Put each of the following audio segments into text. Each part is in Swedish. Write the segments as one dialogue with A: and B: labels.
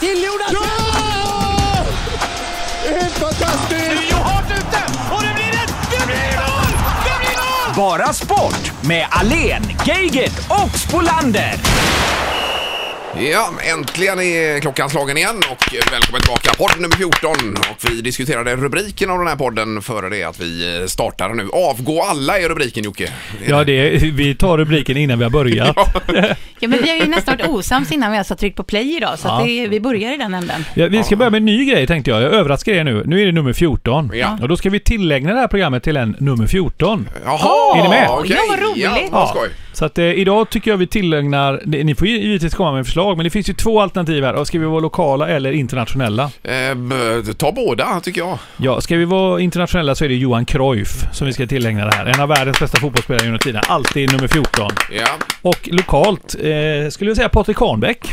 A: till Jonas!
B: Ja! Det är Helt fantastiskt!
C: Rio hårt ute och det blir ett... Det blir mål! Det blir mål!
D: Bara sport med Alen, Geigert och Spolander.
B: Ja, äntligen är klockan slagen igen och välkommen tillbaka. Podd nummer 14 och vi diskuterade rubriken av den här podden före det att vi startar nu. Avgå alla är rubriken Jocke.
E: Ja, det är, vi tar rubriken innan vi har börjat.
A: Ja, men vi har ju nästan varit osams innan vi ens har tryckt på play idag, så att det, vi börjar i den änden.
E: Ja, vi ska börja med en ny grej tänkte jag. Jag överraskar er nu. Nu är det nummer 14.
B: Ja.
E: Och då ska vi tillägna det här programmet till en nummer 14.
B: Jaha!
E: Är ni med?
B: okej.
A: Ja, vad roligt.
B: Ja, vad skoj.
E: Så att eh, idag tycker jag vi tillägnar... Ni får ju givetvis komma med förslag, men det finns ju två alternativ här. Och Ska vi vara lokala eller internationella?
B: Eh, b- ta båda tycker jag.
E: Ja, ska vi vara internationella så är det Johan Cruyff som vi ska tillägna det här. En av världens bästa fotbollsspelare genom tiden. Alltid nummer 14.
B: Ja.
E: Och lokalt eh, skulle jag säga Patrik Kahnbäck.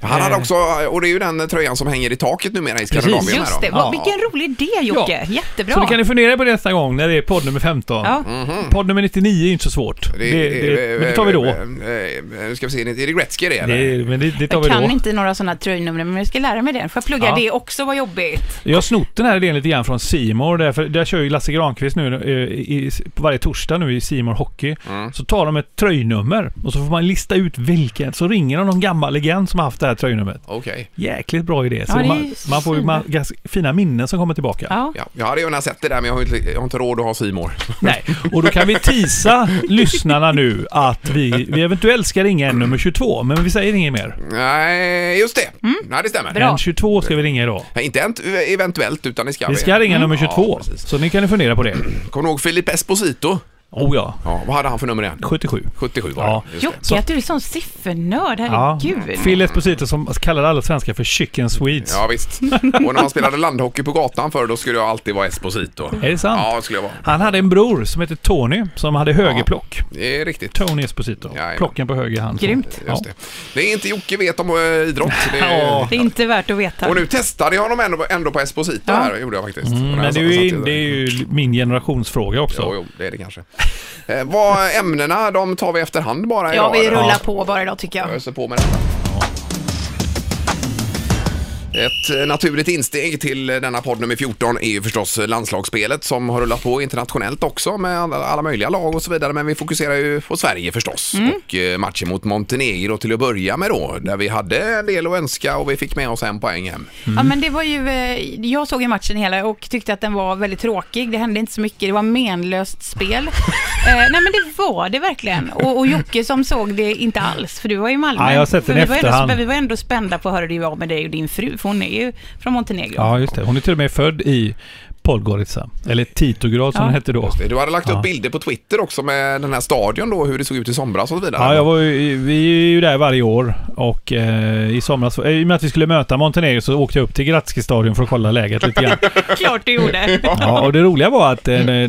B: Han hade
E: Eh.
B: också, och det är ju den tröjan som hänger i taket numera i Skandinavien. här
A: Just
B: då.
A: det, vad, vilken rolig idé Jocke! Jättebra!
E: Så då kan Mm, ni fundera på det nästa gång när det är podd nummer 15.
A: Ja.
E: Podd nummer 99 är inte så svårt. Mhm. Det, det, men det tar vi då.
B: eh, eh, Nu ska vi se, är det Gretzky det eller?
E: Det, men det, det tar
A: Jag
E: vi
A: kan
E: då.
A: inte några sådana tröjnummer, men jag ska lära mig det. Får jag plugga
E: Ja.
A: det också, vad jobbigt.
E: Jag har snott den här idén lite grann från Simor. Där, för där kör ju Lasse Granqvist nu eh, i, på varje torsdag nu i Simor Hockey. Så tar de ett tröjnummer och så får man lista ut vilken. Så ringer de någon gammal legend som har haft det här tröjnumret.
B: Okej.
E: Jäkligt bra idé. Så
A: Ja, det är
E: man, man får ju
A: fina.
E: ma- ganska fina minnen som kommer tillbaka.
A: Ja.
B: Ja, jag hade gärna sett det där men jag har inte, jag har inte råd att ha Simor.
E: Nej, och då kan vi tisa lyssnarna nu att vi, vi eventuellt ska ringa en nummer 22, men vi säger inget mer.
B: Nej, just det.
E: Mm.
B: Nej, det stämmer.
A: Bra.
E: En 22 ska vi ringa idag.
B: Nej, inte ent- eventuellt, utan det ska
E: Vi ska ringa nummer
B: Ja,
E: 22,
B: precis.
E: så ni kan ju fundera på det.
B: Kommer du ihåg Filip Esposito?
E: Oh ja,
B: Ja, vad hade han för nummer igen?
E: 77.
B: 77 var
E: Ja.
B: det. Just det.
A: Jocke, att du är sån siffernörd, herregud.
E: Phil Esposito som kallar alla svenskar för Chicken Swedes.
B: Ja, visst. Och när man spelade landhockey på gatan förr, då skulle jag alltid vara Esposito.
E: Är det sant?
B: Ja, det skulle jag vara.
E: Han hade en bror som hette Tony som hade högerplock.
B: Det är riktigt.
E: Tony Esposito.
B: Jajamän.
E: Plocken på höger hand.
A: Grymt.
E: Ja.
B: Just det. det är inte Jocke vet om eh, idrott. Det är...
E: Ja.
A: Det är inte värt att veta.
B: Och nu testade jag honom ändå, ändå på Esposito
A: Ja.
B: här, gjorde jag faktiskt. Och när
E: Mm, Men
B: jag
E: det är,
B: satt-
E: ju,
B: satt i-
E: det är ju min generationsfråga också.
B: Jo, jo, det är det kanske. Eh, vad ämnena, de tar vi efterhand bara
A: Ja,
B: idag,
A: vi
B: eller?
A: rullar på bara idag tycker jag.
B: Jag öser på med detta. Ett eh, naturligt insteg till eh, denna podd nummer 14 är ju förstås eh, landslagsspelet som har rullat på internationellt också med alla, alla möjliga lag och så vidare. Men vi fokuserar ju på Sverige förstås
E: Mm.
B: och eh, matchen mot Montenegro till att börja med då där vi hade en del att önska och vi fick med oss en poäng hem.
E: Mm.
A: Ja, men det var ju, eh, jag såg ju matchen hela och tyckte att den var väldigt tråkig. Det hände inte så mycket, det var menlöst spel. eh, nej men det var det verkligen. Och, och Jocke som såg det inte alls, för du var ju i Malmö.
E: Ja, jag har sett
A: För
E: den i
A: vi var ändå-
E: efterhand.
A: Vi var ändå spända på hur det var med dig och din fru, för hon är ju från Montenegro.
E: Ja, just det. Hon är till och med född i Podgorica. Eller Titograd som
A: Ja.
E: den hette då.
B: Eh, Du hade lagt upp bilder på Twitter också med den här stadion då, hur det såg ut i somras och så vidare.
E: Ja, jag var ju, vi är ju där varje år och eh, i somras, eh, i och med att vi skulle möta Montenegro så åkte jag upp till Gratski-stadion för att kolla läget lite grann.
A: Klart du gjorde.
E: Ja, och det roliga var att eh, det,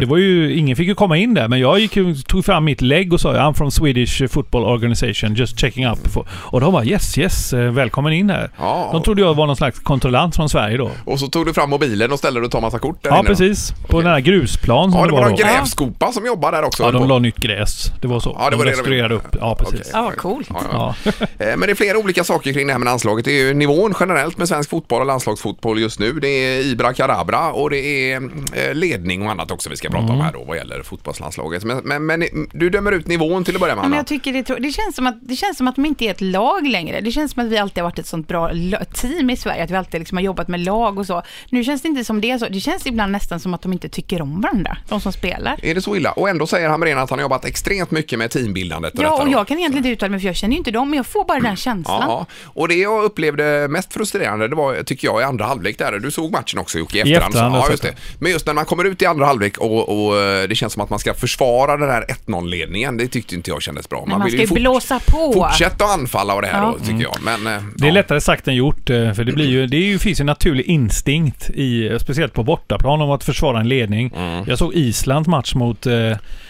E: det var ju, ingen fick ju komma in där, men jag gick, ju- tog fram mitt lägg och sa I'm from Swedish football organization, just checking up. For-" Och de bara yes, yes, eh, välkommen in här.
B: Ja.
E: De trodde jag var någon slags kontrollant från Sverige då.
B: Och så tog du fram mobilen och ställde och tog massa kort där
E: Ja,
B: inne.
E: precis. På den här grusplan som
B: Ja, det var
E: var
B: någon
E: då.
B: grävskopa som jobbade där också.
E: Ja, de la nytt gräs. Det var så.
B: Ja, det var
E: de
B: det de
E: restaurerade
B: gjorde.
E: upp. Ja, precis.
B: Okej.
A: Ja, vad coolt.
B: Ja, ja.
E: Ja.
B: Eh, Men det är flera olika saker kring det här med landslaget. Det är ju nivån generellt med svensk fotboll och landslagsfotboll just nu. Det är Ibra Karabra och det är eh, ledning och annat också vi ska prata
E: Mm.
B: om här då vad gäller fotbollslandslaget. Men, men, men du dömer ut nivån till att börja med
A: Ja, men
B: Anna.
A: jag tycker det, är trå- det, känns som att, det känns som att de inte är ett lag längre. Det känns som att vi alltid har varit ett sånt bra lo- team i Sverige, att vi alltid liksom har jobbat med lag och så. Nu känns det inte som det. är Så. Det känns ibland nästan som att de inte tycker om varandra, de som spelar.
B: Är det så illa? Och ändå säger Hamrén att han har jobbat extremt mycket med teambildandet.
A: Ja,
B: detta
A: och
B: då.
A: jag kan egentligen inte uttala mig för jag känner ju inte dem, men jag får bara den känslan.
B: Ja, och det jag upplevde mest frustrerande det var, tycker jag, i andra halvlek där. Du såg matchen också Jocke, i efterhand.
E: efterhand,
B: ja,
E: jag
B: just
E: såg
B: det. Men just när man kommer ut i andra halvlek och, och eh, det känns som att man ska försvara den här 1-0-ledningen, det tyckte inte jag kändes bra.
A: Men man ska
B: ju
A: ju blåsa på.
B: Fortsätta att anfalla och det här
A: Ja.
B: då, tycker jag. Men, eh,
E: Mm. Det är
B: ja.
E: lättare sagt än gjort, eh, för det, blir ju, det är ju, finns ju en naturlig instinkt i, eh, speciellt speciellt på bortaplan, om att försvara en ledning.
B: Mm.
E: Jag såg Islands match mot, eh,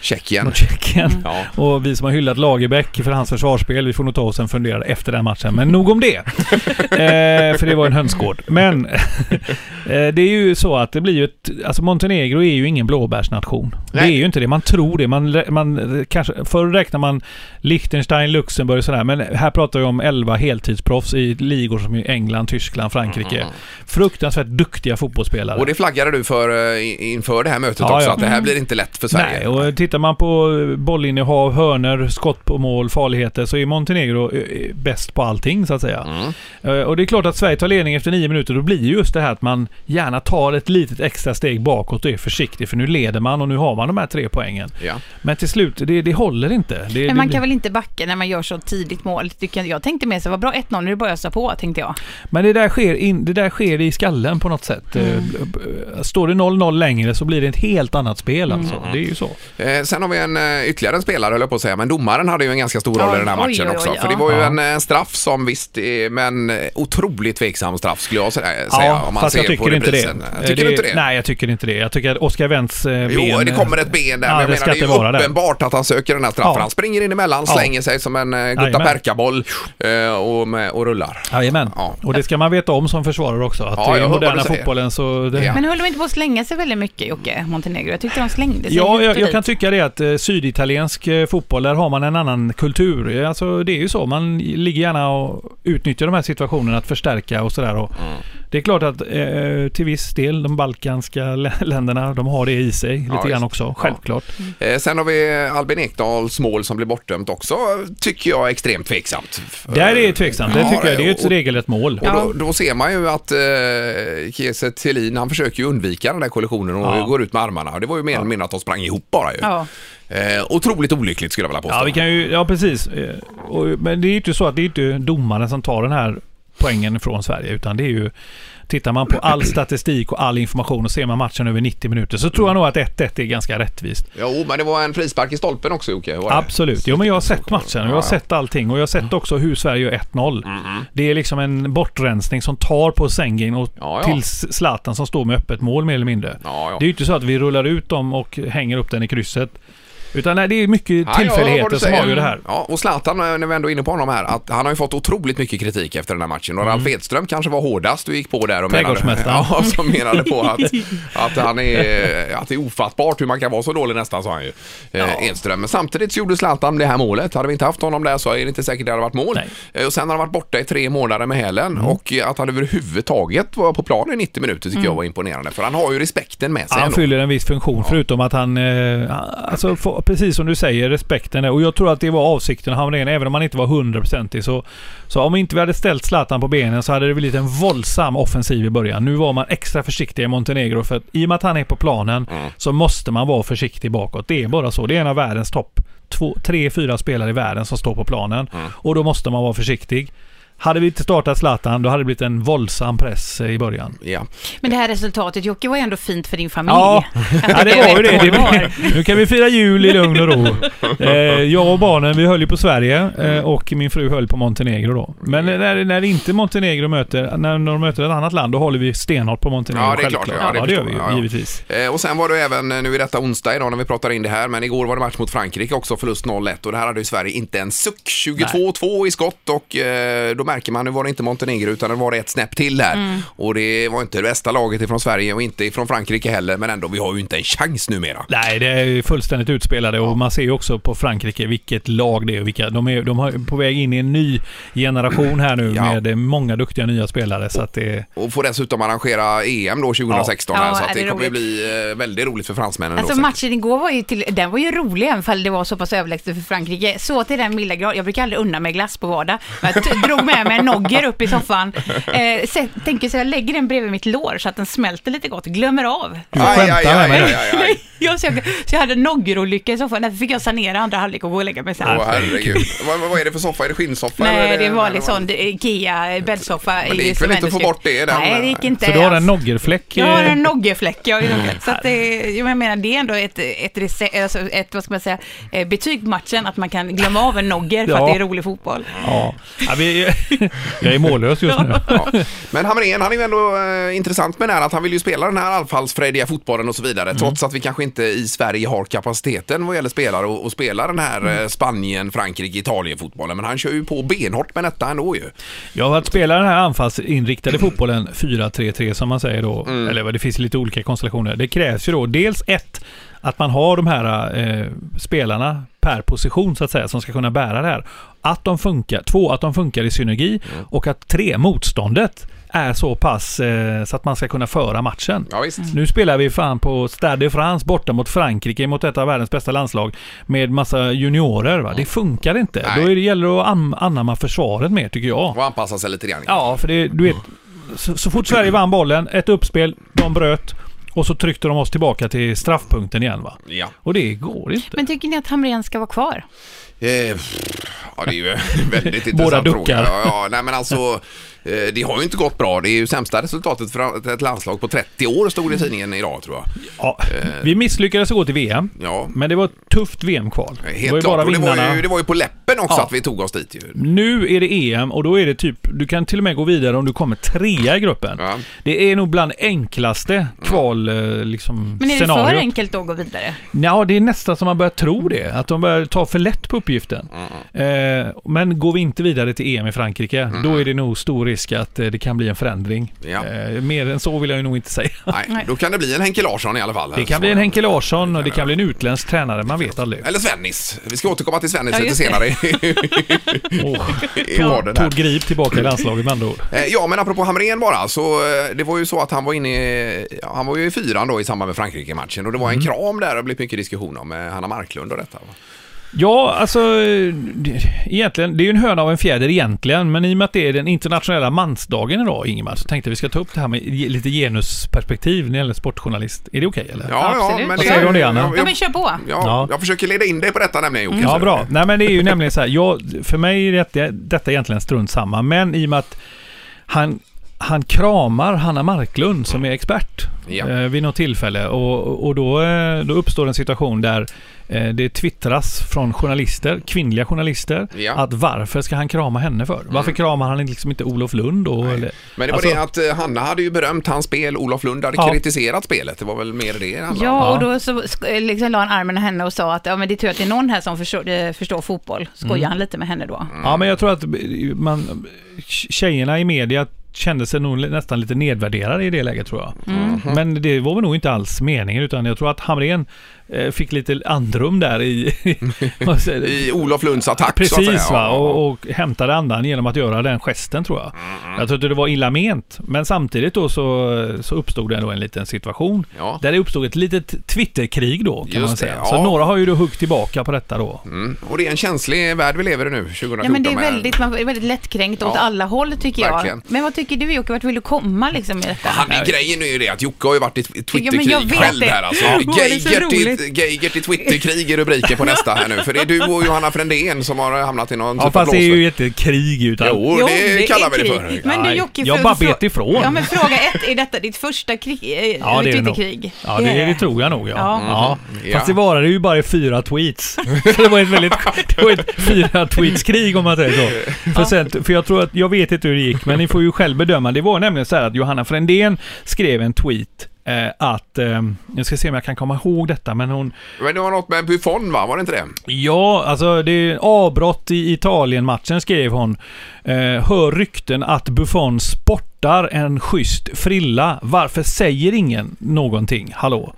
B: Tjeckien.
E: mot Tjeckien.
B: Ja.
E: Och vi som har hyllat Lagerbäck för hans försvarsspel, vi får nog ta oss en funderare efter den matchen. Men nog om det. eh, för det var en hönsgård. Men eh, det är ju så att det blir ju ett... Alltså Montenegro är ju ingen blåbärsnation. Det
B: Nej.
E: är ju inte det. Man tror det. Man, rä- man eh, kanske... Förr räknar man Liechtenstein, Luxemburg och sådär. Men här pratar vi om 11 heltidsproffs i ligor som i England, Tyskland, Frankrike. Fruktansvärt duktiga fotbollsspelare.
B: Och det flaggade du för eh, i- inför det här mötet
E: Ja,
B: också,
E: ja. Mm.
B: att det här blir inte lätt för Sverige.
E: Nej, och tittar man på bollinnehav, hörner, skott på mål, farligheter så är Montenegro eh, bäst på allting så att säga.
B: Mm.
E: Eh, Och det är klart att Sverige tar ledning efter nio minuter. Då blir ju just det här att man gärna tar ett litet extra steg bakåt och är försiktig för nu leder man och nu har man de här tre poängen.
B: Ja.
E: Men till slut, det, det håller inte. Det,
A: Men man
E: det,
A: kan väl inte backa när man gör så tidigt mål? Du kan, jag tänkte mer så, vad bra 1-0, nu är det bara att ösa på, tänkte jag.
E: men det, där sker in, det där sker i skallen på något sätt.
A: Mm.
E: Eh, b- Står det 0-0 längre så blir det ett helt annat spel
A: Mm.
E: alltså. Det är ju så.
B: Eh, sen har vi en, eh, ytterligare en spelare, höll jag på att säga, men domaren hade ju en ganska stor roll i
A: Oj,
B: den här
A: oj,
B: matchen
A: oj,
B: också.
A: oj,
B: för det
A: ja.
B: var ju
E: Ja.
B: en eh, straff som visst, eh, men eh, otroligt tveksam straff skulle jag sä- säga. om man
E: fast
B: ser
E: jag tycker
B: på
E: inte det.
B: reprisen. Tycker
E: Eh,
B: du inte det?
E: Nej, jag tycker inte det. Jag tycker att Oskar Wendts eh,
B: Jo,
E: ben...
B: det kommer ett ben där,
E: Ja,
B: men jag
E: det
B: menar
E: ska
B: det
E: inte vara
B: är ju
E: där.
B: uppenbart att han söker den här straffen.
E: Ja.
B: Han springer in emellan,
E: Ja.
B: slänger sig som en eh, Gutta
E: Jajamän.
B: Perka-boll eh, och, med- och rullar.
E: Jajamän.
B: Ja.
E: Och det ska man veta om som försvarare också. Att
B: Ja,
E: i
B: jag hör vad
E: den
B: du
E: moderna
B: säger.
E: fotbollen så... Det,
B: Ja.
A: Men höll de inte på att slänga sig väldigt mycket, Jocke, Montenegro? Jag tyckte de slängde sig
E: Ja,
A: hit och
E: jag, jag
A: dit.
E: kan tycka det att eh, syditaliensk eh, fotboll, där har man en annan kultur. Eh, Alltså, det är ju så. Man ligger gärna och utnyttjar de här situationerna att förstärka och sådär. Och
B: Mm.
E: Det är klart att eh, till viss del de balkanska lä- länderna, de har det i sig lite
B: visst.
E: grann också. Självklart.
B: Eh, sen har vi Albin Ekdals mål som blir bortdömt också, tycker jag är extremt tveksamt.
E: Där är det tveksamt. Det
B: Ja,
E: tycker jag. Det är ju ett
B: och-
E: regelrätt mål.
B: Och då, då ser man ju att eh, Kiese Thelin, han försöker ju undvika den där kollisionen och
E: Ja.
B: går ut med armarna. Det var ju mer eller mindre att de sprang ihop bara ju.
A: Ja.
B: Eh, otroligt olyckligt skulle jag vilja påstå.
E: Ja, vi kan ju, ja precis. Eh, Och, men det är ju inte så att det är inte domaren som tar den här poängen från Sverige, utan det är ju... Tittar man på all statistik och all information och ser man matchen över 90 minuter så tror jag nog att 1-1 är ganska rättvist.
B: Jo, men det var en frispark i stolpen också Jocke. var det?
E: Absolut. Jo, men jag har sett matchen och jag har sett allting och jag har sett
B: Mm.
E: också hur Sverige gör 1-0.
B: Mm-hmm.
E: Det är liksom en bortrensning som tar på Sengin och
B: Ja, ja.
E: till Zlatan som står med öppet mål mer eller mindre.
B: Ja, ja.
E: Det är ju inte så att vi rullar ut dem och hänger upp den i krysset. Utan nej, det är mycket
B: Ja, jag hör vad
E: tillfälligheter
B: du
E: som
B: säger.
E: avgör det här.
B: Ja, och Zlatan, eh, när vi ändå är inne på honom här, att han har ju fått otroligt mycket kritik efter den här matchen. Och Ralf Edström kanske var hårdast du gick på där och menade,
E: Mm. Trädgårdsmästaren.
B: ja, som menade på att, att, han är, att det är ofattbart hur man kan vara så dålig nästan, sa han ju. Eh, Edström. Men samtidigt så gjorde Zlatan det här målet. Hade vi inte haft honom där så är det inte säkert det hade varit mål.
E: Nej. Mm.
B: Eh, Och sen har han varit borta i tre månader med hälen och eh, att han överhuvudtaget var på plan i 90 minuter tycker jag var imponerande. För han har ju respekten med sig
E: Han
B: ändå.
E: fyller en viss funktion förutom att han... Eh, alltså, få- precis som du säger, respekten. är- Och jag tror att det var avsikten han Hamrén, även om han inte var hundraprocentig. Så, så om inte vi hade ställt Zlatan på benen så hade det blivit en våldsam offensiv i början. Nu var man extra försiktig i Montenegro för att i och med att han är på planen så måste man vara försiktig bakåt. Det är bara så. Det är en av världens topp två, tre, fyra spelare i världen som står på planen. Och då måste man vara försiktig. Hade vi inte startat Zlatan, då hade det blivit en våldsam press eh, i början.
B: Ja.
A: Men det här resultatet, Jocke, var ju ändå fint för din familj.
E: Ja, ja det var ju det. det
A: var.
E: blir- nu kan vi fira jul i lugn och ro. Eh, jag och barnen, vi höll ju på Sverige eh, och min fru höll på Montenegro då. Men när, när inte Montenegro möter, när de möter ett annat land, då håller vi stenhårt på Montenegro.
B: Ja, det är klart.
E: självklart.
B: Ja, det
E: Ja, det gör
B: förstår
E: vi ju,
B: jag. Ja, ja.
E: givetvis.
B: Eh, Och sen var det även eh, nu i detta onsdag idag när vi pratar in det här, men igår var det match mot Frankrike också, förlust 0-1 och det här hade ju Sverige inte en suck. 22-2 i skott och eh, då märker man, nu var det inte Montenegro utan det var det ett snäpp till här.
A: Mm.
B: Och det var inte det bästa laget ifrån Sverige och inte ifrån Frankrike heller, men ändå, vi har ju inte en chans numera.
E: Nej, det är ju fullständigt utspelade och man ser ju också på Frankrike vilket lag det är. och Vilka, de är de har på väg in i en ny generation här nu
B: Ja.
E: med eh, många duktiga nya spelare. Så att det,
B: Och får dessutom arrangera EM då 2016
A: Ja.
B: här,
A: Ja,
B: så att
A: är
B: det,
A: det
B: kommer ju
A: roligt?
B: bli eh, väldigt roligt för fransmännen.
A: Alltså
B: då, säkert.
A: matchen igår var ju, till, den var ju rolig även fall det var så pass överlägset för Frankrike. Så till den milda grad, jag brukar aldrig unna mig glass på vardag. Men jag t- drog med mig en nogger upp i soffan. Eh, så, tänker så jag lägger den bredvid mitt lår så att den smälter lite gott, glömmer av.
E: du
B: Aj, aj,
E: skämtar
B: aj,
E: med
B: aj,
E: mig.
B: aj, aj.
A: Jag, så, jag, så jag hade en noggerolycka i soffan, därför fick jag sanera andra halvlek och gå och lägga mig sen.
B: Åh herregud. vad, vad är det för soffa? Är det skinnsoffa? eller
A: Nej,
B: är
A: det var liksom
B: vad-
A: Ikea bäddsoffa.
B: Men det
A: i
B: gick väl inte att få
A: cementskruv.
B: bort det, den-
A: Nej, det gick inte.
E: Så du har en
A: alls.
E: noggerfläck?
A: Jag har
E: eh,
A: en noggefläck. Jag,
B: Mm,
A: är nog- så att det, jag menar, det är ändå ett, ett, rece- alltså ett vad ska man säga, eh, betyg på matchen, att man kan glömma av en nogger för
E: Ja.
A: att det är rolig fotboll.
E: Ja. Ja, vi, Jag är mållös just nu.
B: Ja. Men Hamrén, han är ju ändå eh, intressant med det här att han vill ju spela den här allfallsfrediga fotbollen och så vidare.
E: Mm.
B: Trots att vi kanske inte i Sverige har kapaciteten vad gäller spelare och, och spela den här
E: Mm.
B: eh, Spanien, Frankrike, Italien-fotbollen. Men han kör ju på benhårt med detta ändå ju.
E: Jag har spelat den här anfallsinriktade fotbollen 4-3-3 som man säger då. Eller vad, det finns lite olika konstellationer. Det krävs ju då dels ett, att man har de här eh, spelarna per position så att säga som ska kunna bära det här. Att de funkar. Två, att de funkar i synergi. Och att tre, motståndet är så pass eh, så att man ska kunna föra matchen.
B: Ja, visst.
E: Nu spelar vi fan på Stade de France borta mot Frankrike, mot ett av världens bästa landslag, med massa juniorer. Va? Det funkar inte.
B: Nej.
E: Då är det, gäller det att am- anamma försvaret mer, tycker jag.
B: Och anpassa sig lite grann.
E: Ja, för det, du vet, så, så fort Sverige vann bollen, ett uppspel, de bröt och så tryckte de oss tillbaka till straffpunkten igen. Va?
B: Ja.
E: Och det går inte.
A: Men tycker ni att Hamrén ska vara kvar?
B: Eh, pff, Ja, det är ju en väldigt intressant
E: Båda
B: fråga.
E: duckar.
B: Ja, ja, nej men alltså, eh, det har ju inte gått bra. Det är ju sämsta resultatet för ett landslag på 30 år, stod det i tidningen idag tror jag.
E: Ja, Eh. vi misslyckades att gå till VM,
B: Ja,
E: men det var ett tufft VM-kval.
B: helt klart. Och det var, ju, det var ju på läppen också
E: Ja.
B: att vi tog oss dit ju.
E: Nu är det EM och då är det typ, du kan till och med gå vidare om du kommer trea i gruppen.
B: Ja.
E: Det är nog bland enklaste kval, eh, liksom,
A: Men är det för
E: scenariot.
A: enkelt då att gå vidare?
E: Ja, det är nästan som man börjar tro det. Att de börjar ta för lätt på uppgiften. Eh, men går vi inte vidare till EM i Frankrike, då är det nog stor risk att eh, det kan bli en förändring.
B: Ja.
E: Eh, mer än så vill jag ju nog inte säga.
B: Nej,
A: Nej.
B: då kan det bli en Henke Larsson i alla fall.
E: Det kan bli en Henke Larsson och det kan bli en utländsk tränare, man vet aldrig.
B: Eller Svennis. Vi ska återkomma till Svennis
A: Ja,
B: lite
A: just det.
B: senare.
E: Oh,
B: I raden här.
E: Tord Grip tillbaka i landslaget med andra ord.
B: Eh, ja, men apropå Hamrén bara, så eh, det var ju så att han var inne i, ja, han var ju i fyran då i samband med Frankrike-matchen och det
E: Mm.
B: var en kram där och det blev mycket diskussion om eh, Hanna Marklund och detta. Va?
E: Ja, alltså eh, det- egentligen, det är ju en höna av en fjäder egentligen, men i och med att det är den internationella mansdagen idag, Ingemar, så tänkte jag vi ska ta upp det här med ge- lite genusperspektiv när det gäller sportjournalist. Är det okej eller?
A: Absolut.
B: men
A: Vad
E: säger du om det, Anna?
A: Ja, men kör på.
B: Ja,
E: Ja.
B: Jag försöker leda in dig på detta nämligen Jocke.
E: Mm. Ja,
B: så-
E: bra. Nej, men det är ju nämligen så här. Jag, för mig är detta, detta egentligen strunt samma, men i och med att han, han kramar Hanna Marklund som är expert
B: Ja.
E: eh, vid något tillfälle och, och då, eh, då uppstår en situation där eh, det twittras från journalister, kvinnliga journalister,
B: Ja. Mm.
E: att varför ska han krama henne för? Varför kramar han liksom inte Olof Lund då? Eller,
B: Men det var
E: Alltså-
B: det att eh, Hanna hade ju berömt hans spel, Olof Lund hade
E: Ja.
B: kritiserat spelet. Det var väl mer det det ja.
A: Ja, och då så sk- liksom la han armen om henne och sa att ja, men det är tur att det är någon här som förstår, eh, förstår fotboll. Skojar
B: Mm.
A: han lite med henne då?
E: Ja, men jag tror att man, tjejerna i media kände sig nog nästan lite nedvärderade i det läget tror jag.
B: Mm-hmm.
E: Men det var väl nog inte alls meningen utan jag tror att Hamrén eh, fick lite andrum där i... vad säger du?
B: I Olof Lunds attack så att säga.
E: Precis va,
B: Ja,
E: och, och hämtade andan genom att göra den gesten tror jag.
B: Mm-hmm.
E: Jag tror inte det var illa ment, men samtidigt då så, så uppstod det ändå en liten situation.
B: Ja.
E: Där det uppstod ett litet Twitterkrig då kan
B: Just
E: man
B: det,
E: säga.
B: ja.
E: Så några har ju då huggt tillbaka på detta då.
B: Mm. Och det är en känslig värld vi lever i nu, 2014.
A: Ja, men det är
B: med-
A: väldigt, man är väldigt lättkränkt åt
B: Ja,
A: alla håll tycker jag.
B: verkligen.
A: Men vad tycker du Jocke, vart vill du komma liksom i detta?
B: Han är grejen är ju det att Jocke har ju varit i ett Twitterkrig
A: Ja, men jag vet
B: själv
A: det.
B: här alltså.
A: Ja. Åh, det är så
B: Geigert i,
A: roligt.
B: Geigert i Twitterkrig är rubriken på nästa här nu. För det är du och Johanna Frändén som har hamnat i någon
E: Ja,
B: typ av
E: fast det är
B: blåsvärd.
E: ju inte krig utan...
B: Jo,
A: Jo,
B: det, kallar vi det
A: krig.
B: för.
A: Men du
E: Nej,
A: Jocke,
E: jag
A: för-
E: bara
A: för-
E: bet ifrån.
A: Ja, men fråga ett, är detta ditt första krig, eh,
E: Ja, det är det nog.
A: Twitterkrig?
E: Ja, det, det tror jag nog ja.
A: Ja.
E: ja.
B: Mhm.
E: Fast
B: Ja.
E: det varade ju bara i fyra tweets. Så det var ett väldigt... Det var ett fyra tweets-krig om man säger så. För, sen, för jag tror att... Jag vet inte hur det gick, men ni får ju själv bedöma. Det var nämligen så här att Johanna Frändén skrev en tweet eh, att... Eh, jag ska se om jag kan komma ihåg detta, men hon...
B: Men det var något med Buffon va, var det inte det?
E: Ja, alltså det är avbrott i Italien-matchen skrev hon. Eh, hör rykten att Buffon sportar en schysst frilla. Varför säger ingen någonting? Hallå?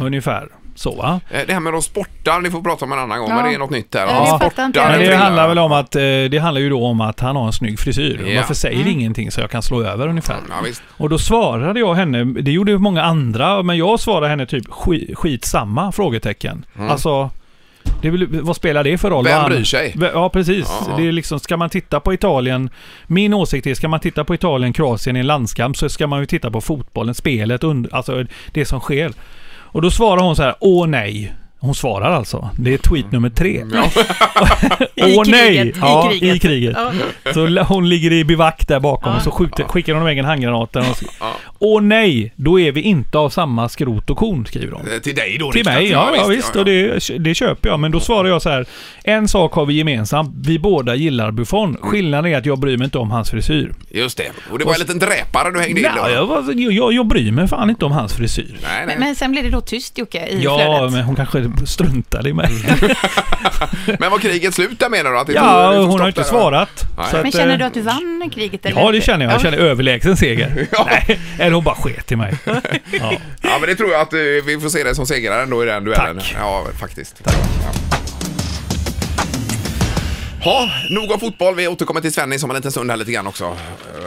E: Ungefär så va?
B: Eh, Det här med de sportar, ni får prata om en annan gång,
A: Ja.
B: men det är något nytt där.
A: Ja,
B: De
A: jag fattar inte.
B: sportar
A: Ja,
E: Men
B: en
E: det
B: frilla.
E: handlar väl om att eh, det handlar ju då om att han har en snygg frisyr.
B: Ja.
E: Varför säger ingenting så jag kan slå över ungefär?
B: Ja, visst.
E: Och då svarade jag henne, det gjorde ju många andra, men jag svarade henne typ "Sk- skitsamma? Frågetecken. Alltså, det är väl, vad spelar det för roll?
B: Mm. Vem
E: Vad
B: bryr sig?
E: V- Ja, precis.
B: Ja.
E: Det är liksom, ska man titta på Italien, min åsikt är, ska man titta på Italien, Kroatien i en landskamp så ska man ju titta på fotbollen, spelet, und- alltså det som sker. Och då svarar hon så här, åh nej. Hon svarar alltså. Det är tweet nummer tre.
B: Ja.
E: Åh nej!
F: kriget, i
E: Ja,
F: kriget.
E: I kriget.
F: Ja.
E: Så la- hon ligger i bivack där bakom och så skjuter, skickar hon iväg en handgranat. där hon sk- Åh nej, då är vi inte av samma skrot och korn, skriver hon.
B: Eh, Till dig då
E: Till
B: riktat.
E: mig, ja, ja visst. Och det, det köper jag. Men då svarar jag så här. En sak har vi gemensamt. Vi båda gillar Buffon. Skillnaden är att jag bryr mig inte om hans frisyr.
B: Just det. Och det var en liten dräpare du hängde in då.
E: Nej, jag, var- jag, jag bryr mig fan inte om hans frisyr.
B: Nej, nej.
A: Men, men sen blev det då tyst Jocke i
E: Ja,
A: flödet.
E: men hon kanske struntade i mig.
B: Men var kriget slut där menar du? Att det tog- det
E: Ja,
B: tog
E: hon har
B: stopp där,
E: inte
B: va?
E: svarat.
B: Nej.
E: Så
A: Men
E: att,
A: känner
E: eh,
A: du att du vann kriget? Eller?
E: Ja, det känner jag. Jag känner överlägsen seger.
B: Ja.
E: Nej, eller hon bara sket i mig. Ja.
B: Ja, men det tror jag att eh, vi får se dig som segraren då i den duellen.
E: Tack.
B: Ja, faktiskt. Tack. Ja. Ha, nog av fotboll. Vi återkommer till Svennis om en liten stund här lite grann också.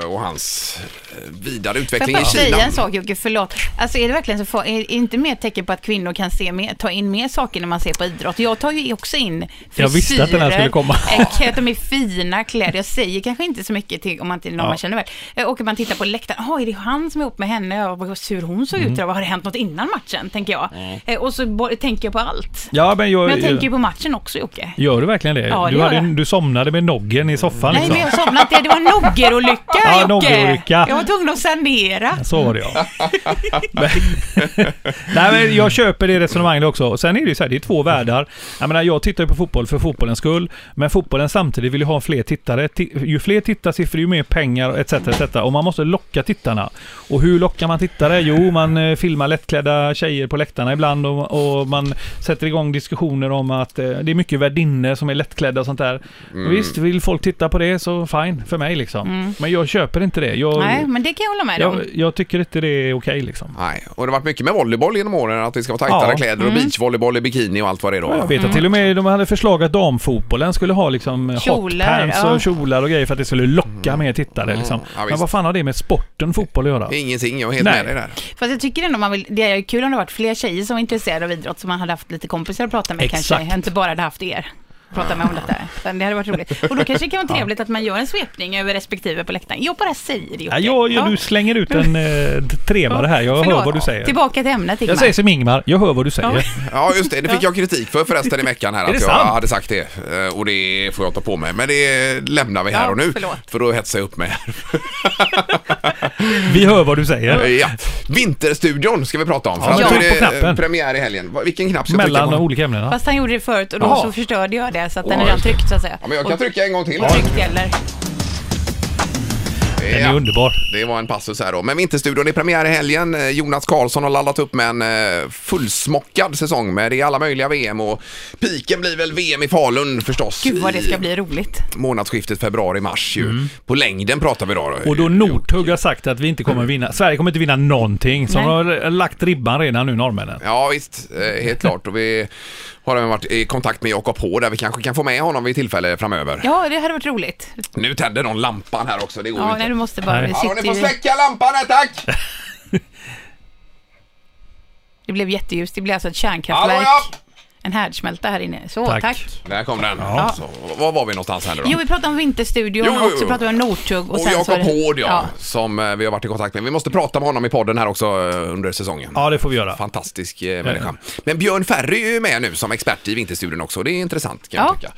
B: eh, Och hans eh, vidare
A: Får
B: utveckling
A: jag
B: i
A: bara säga
B: Kina.
A: en sak Jocke, förlåt. Alltså är det verkligen så far- är det inte mer tecken på att kvinnor kan se mer, ta in mer saker när man ser på idrott? Jag tar ju också in frisyrer.
E: Jag visste att den här skulle komma.
A: eh, Att de är fina kläder. Jag säger kanske inte så mycket till om man inte är någon
E: Ja.
A: man känner väl. Eh, Och man tittar på läktaren. Jaha, är det han som är ihop med henne? Ja, Vad sur hon såg
E: Mm.
A: ut. Har det hänt något innan matchen? Tänker jag. Eh, Och så bo- tänker jag på allt.
E: Ja, men jag...
A: Men jag tänker ju på matchen också Jocke.
E: Gör du verkligen det?
A: Ja, det
E: du,
A: gör
E: hade,
A: jag.
E: du somnade med noggen i soffan
A: Nej, men
E: liksom.
A: jag somnade inte. Det var en noggerolycka,
E: Ja,
A: Jocke.
E: noggerolycka.
A: Jag var tvungen att sanera.
E: Så var det ja. Men- Nej men jag köper det resonemanget också. Och Sen är det ju så här, det är två världar. Jag menar jag tittar ju på fotboll för fotbollens skull. Men fotbollen samtidigt vill ju ha fler tittare. Ti- Ju fler tittarsiffror ju mer pengar etc. etc. Och man måste locka tittarna. Och hur lockar man tittare? Jo, man eh, filmar lättklädda tjejer på läktarna ibland och, och man sätter igång diskussioner om att eh, det är mycket värdinnor som är lättklädda och sånt där. Visst, vill folk titta på det så fine för mig liksom. Men jag köper inte det. Jag,
A: Nej, men det kan jag hålla med om.
E: jag, jag tycker inte det är okej liksom.
B: Nej, och det har varit mycket med volleyboll genom åren. Att det ska vara tajtare
E: Ja.
B: kläder
A: Mm.
B: och beachvolleyboll i bikini och allt vad det är då.
E: Jag vet att till och med de hade förslag att damfotbollen skulle ha liksom
A: Kjolar,
E: hotpants
A: ja.
E: och kjolar och grejer för att det skulle locka mer tittare liksom.
B: Mm. Ja, visst.
E: Men vad fan har det med sporten fotboll att göra?
B: Ingenting, jag är helt
E: Nej.
B: med dig där.
A: Fast jag tycker ändå man vill, det är kul om det varit fler tjejer som var intresserade av idrott som man hade haft lite kompisar att prata med
E: Exakt.
A: kanske. Inte bara hade haft er. att Prata med om detta. Men det hade varit roligt. Och då kanske det kan vara trevligt att man gör en svepning över respektive på läktaren. Jag bara säger det Jocke.
E: Ja, jag, jag,
A: Ja.
E: du slänger ut en eh, trevare här. Jag
A: Förlåt.
E: hör vad du säger.
A: Tillbaka till ämnet Ingmar.
E: Jag säger som Ingmar, jag hör vad du säger.
B: Ja, just det. Det fick jag kritik för förresten i veckan här.
E: det
B: Att jag
E: sant?
B: hade sagt det. Eh, Och det får jag ta på mig. Men det lämnar vi här
A: Ja,
B: och nu.
A: förlåt.
B: För då hetsar jag upp mig här.
E: Vi hör vad du säger.
B: Ja. Vinterstudion ska vi prata om. För
E: Ja,
B: att nu
E: tryck på
B: är det
E: knappen.
B: premiär i helgen. Va- Vilken knapp ska jag trycka
E: Mellan de
B: på?
E: olika ämnena.
A: Fast han gjorde det förut och då
E: Jaha.
A: så förstörde jag det så att den
B: Oj.
A: är redan tryckt så att säga.
B: Ja, men jag kan
A: Och-
B: trycka en gång till.
A: och Tryckt gäller.
E: Den är
B: Ja.
E: underbar.
B: Det var en passus här då. Men Vinterstudion, det är premiär i helgen. Eh, Jonas Karlsson har laddat upp med en eh, fullsmockad säsong med det är alla möjliga VM och piken blir väl VM i Falun förstås.
A: Gud vad det ska
B: i
A: bli roligt.
B: Månadsskiftet februari-mars ju. På längden pratar vi då.
E: Mm. Och då Northug har sagt att vi inte kommer vinna. Sverige kommer inte vinna någonting. Så de
A: Nej.
E: har lagt ribban redan nu, norrmännen.
B: Ja visst, eh, helt klart. Och vi har även varit i kontakt med Jakob H där vi kanske kan få med honom vid tillfälle framöver.
A: Ja, det hade varit roligt.
B: Nu tänder någon lampan här också, det går ju
A: Ja,
B: inte.
A: nej, du måste bara...
E: Nej.
A: vi
B: Hallå,
A: sitter
B: ni får
A: ju-
B: släcka lampan här tack!
A: Det blev jätteljust. Det blev alltså ett kärnkraftverk.
B: Hallå ja!
A: En härdsmälta här inne. Så,
E: Tack.
A: tack.
B: Där kom den. Så, var var vi någonstans här nu då?
A: Jo, vi pratade om Vinterstudion
B: Jo, jo,
A: och
B: jo.
A: så pratade vi om Northug.
B: Och
A: sen så
B: Jakob
A: var det-
B: Hård ja, som eh, vi har varit i kontakt med. Vi måste prata med honom i podden här också eh, under säsongen.
E: Ja, det får vi göra.
B: Fantastisk eh, människa. Men Björn Ferry är ju med nu som expert i Vinterstudion också. Det är intressant kan
A: Ja.
B: jag tycka.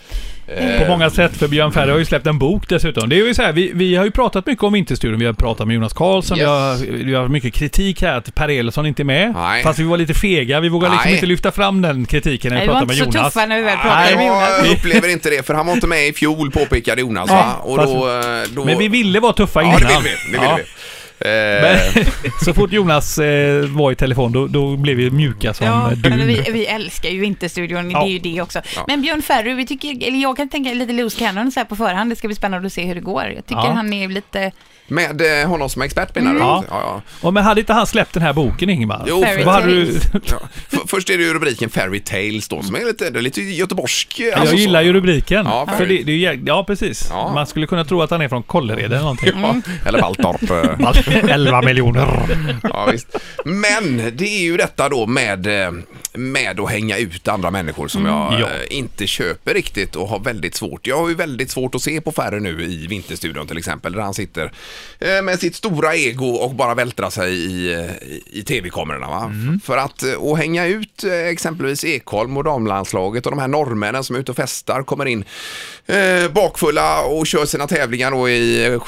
E: På
B: Eh.
E: många sätt, för Björn Ferry har ju släppt en bok dessutom. Det är ju så här, vi, vi har ju pratat mycket om Vinterstudion. Vi har pratat med Jonas Karlsson, vi,
B: Yes.
E: har, vi har haft mycket kritik här att Per Elofsson inte är med.
B: Nej.
E: Fast vi var lite fega, vi vågade liksom
B: Nej.
E: inte lyfta fram den kritiken när vi
A: Nej, vi var
E: pratade
A: inte
E: med
A: så
E: Jonas.
A: tuffa när vi väl pratade
E: Nej,
A: med Jonas.
B: Jag upplever inte det, för han var inte med i fjol påpekade Jonas. va?
E: Ja,
B: Och
E: fast-
B: då, eh, då...
E: Men vi ville vara tuffa
B: Ja,
E: innan.
B: det vill vi. Det vill
E: Ja.
B: vi. Eh,
E: Men, så fort Jonas eh, var i telefon, då, då blev vi mjuka som
A: Ja,
E: eh,
A: men
E: dun.
A: vi, vi älskar ju Vinterstudion,
E: Ja.
A: det är ju det också. Men Björn Ferry, vi tycker, eller jag kan tänka lite loose cannon så här på förhand, det ska bli spännande att se hur det går. Jag tycker
E: Ja.
A: han är lite,
B: Med eh, honom som expert menar du?
E: Ja.
B: ja.
E: Ja, men hade inte han släppt den här boken Ingmar?
B: Jo,
A: Fairy
E: Vad hade du...
A: Tales.
B: Ja. F- Först är det ju rubriken Fairy Tales då, som är lite, det är lite göteborgsk. eh,
E: Jag
B: alltså så.
E: gillar ju rubriken.
B: Ja,
E: för
B: Ferry.
E: det, det är ju, jäk- ja precis.
B: Ja.
E: Man skulle kunna tro att han är från Kållered eller någonting.
B: Ja, eller Valltorp. eh.
E: 11 miljoner.
B: ja, visst. Men det är ju detta då med, eh, med att hänga ut andra människor som jag eh,
E: Mm, Ja.
B: inte köper riktigt och har väldigt svårt. Jag har ju väldigt svårt att se på Färre nu i Vinterstudion till exempel där han sitter eh, med sitt stora ego och bara vältra sig i, eh, i, i tv-kamerorna. Va?
E: Mm.
B: För att eh, och hänga ut eh, exempelvis Ekholm och damlandslaget och de här norrmännen som är ute och festar kommer in eh, bakfulla och kör sina tävlingar då i eh,